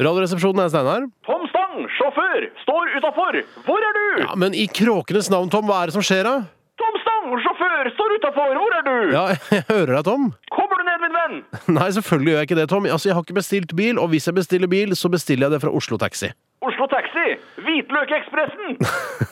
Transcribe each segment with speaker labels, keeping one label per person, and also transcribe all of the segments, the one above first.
Speaker 1: Radioresepsjonen er Steinar.
Speaker 2: Tom Stang, sjåfør, står utafor! Hvor er du?
Speaker 1: Ja, men i kråkenes navn, Tom, hva er det som skjer da?
Speaker 2: Tom Stang, sjåfør, står utafor! Hvor er du?
Speaker 1: Ja, jeg hører deg, Tom.
Speaker 2: Kommer du ned, min venn?
Speaker 1: Nei, selvfølgelig gjør jeg ikke det, Tom. Altså, jeg har ikke bestilt bil, og hvis jeg bestiller bil, så bestiller jeg det fra Oslo Taxi.
Speaker 2: Oslo Taxi, Hvitløkekspressen!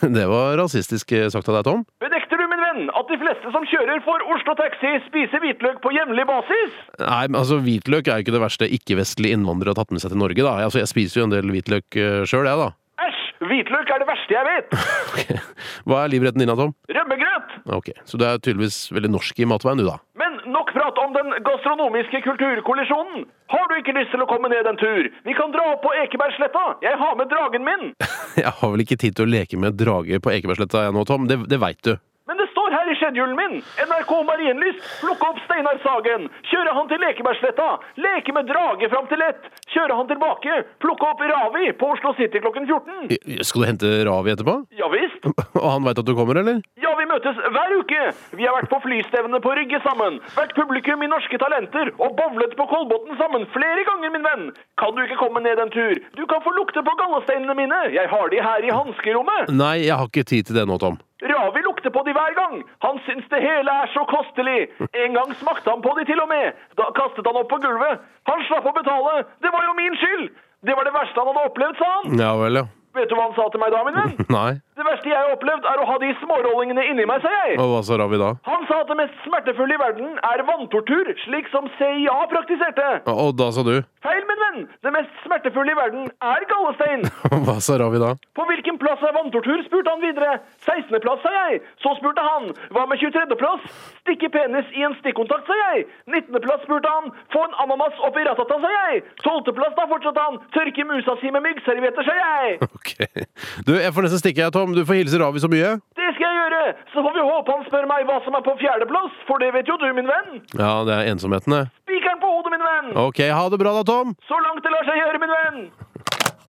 Speaker 1: Det var rasistisk eh, sagt av deg, Tom.
Speaker 2: Benekter du, min venn, at de fleste som kjører for Oslo Taxi, spiser hvitløk på hjemlig basis?
Speaker 1: Nei, men altså, hvitløk er jo ikke det verste ikke-vestlige innvandrere har tatt med seg til Norge, da. Altså, jeg spiser jo en del hvitløk sjøl, jeg, da.
Speaker 2: Æsj! Hvitløk er det verste jeg vet!
Speaker 1: Ok. Hva er livretten din, da, Tom?
Speaker 2: Rømmegrøt!
Speaker 1: Ok, Så du er tydeligvis veldig norsk i matveien, du, da.
Speaker 2: Men nok prat om den gastronomiske kulturkollisjonen! Har du ikke lyst til å komme ned en tur? Vi kan dra opp på Ekebergsletta! Jeg har med dragen min!
Speaker 1: Jeg har vel ikke tid til å leke med drage på Ekebergsletta jeg nå, Tom. Det, det veit du.
Speaker 2: Men det står her i schedulen min! NRK Marienlyst, plukke opp Steinar Sagen! Kjøre han til Ekebergsletta! Leke med drage fram til ett! Kjøre han tilbake! Plukke opp Ravi på Oslo City klokken 14!
Speaker 1: Skal du hente Ravi etterpå?
Speaker 2: Ja visst!
Speaker 1: Og han veit at du kommer, eller?
Speaker 2: Ja, vi møtes hver uke! Vi har vært på flystevne på Rygge sammen, vært publikum i Norske Talenter og bowlet på Kolbotn sammen flere ganger, min venn! Kan du ikke komme ned en tur? Du kan få lukte på gallesteinene mine! Jeg har de her i hanskerommet!
Speaker 1: Nei, jeg har ikke tid til det nå, Tom.
Speaker 2: Ravi lukter på de hver gang! Han syns det hele er så kostelig! En gang smakte han på de til og med! Da kastet han opp på gulvet! Han slapp å betale! Det var jo min skyld! Det var det verste han hadde opplevd, sa han!
Speaker 1: Ja vel, ja.
Speaker 2: Vet du hva han sa til meg da, min venn?
Speaker 1: Nei.
Speaker 2: Det verste jeg har opplevd, er å ha de smårollingene inni meg, sa jeg!
Speaker 1: Og hva sa Ravi da?
Speaker 2: Han sa at det mest smertefulle i verden er vanntortur, slik som CIA praktiserte.
Speaker 1: Og da sa du?
Speaker 2: Feil, min venn! Det mest smertefulle i verden er gallestein!
Speaker 1: Hva sa Ravi da?
Speaker 2: På hvilken plass er vanntortur, spurte han videre. 16. plass, sa jeg. Så spurte han. Hva med 23. plass? Stikke penis i en stikkontakt, sa jeg. 19. plass, spurte han. Få en ananas opp i ratata, sa jeg. 12. plass, da fortsatte han. Tørke musa si med myggservietter, sa jeg.
Speaker 1: Ok. Du, jeg får nesten stikke, jeg, Tom. Du får hilse Ravi så mye.
Speaker 2: Det skal jeg gjøre. Så får vi håpe han spør meg hva som er på fjerde plass, for det vet jo du, min venn.
Speaker 1: Ja, det er ensomheten, det.
Speaker 2: Spikeren på hodet, min venn.
Speaker 1: Ok, ha det bra da, Tom.
Speaker 2: Så langt det lar seg gjøre, min venn!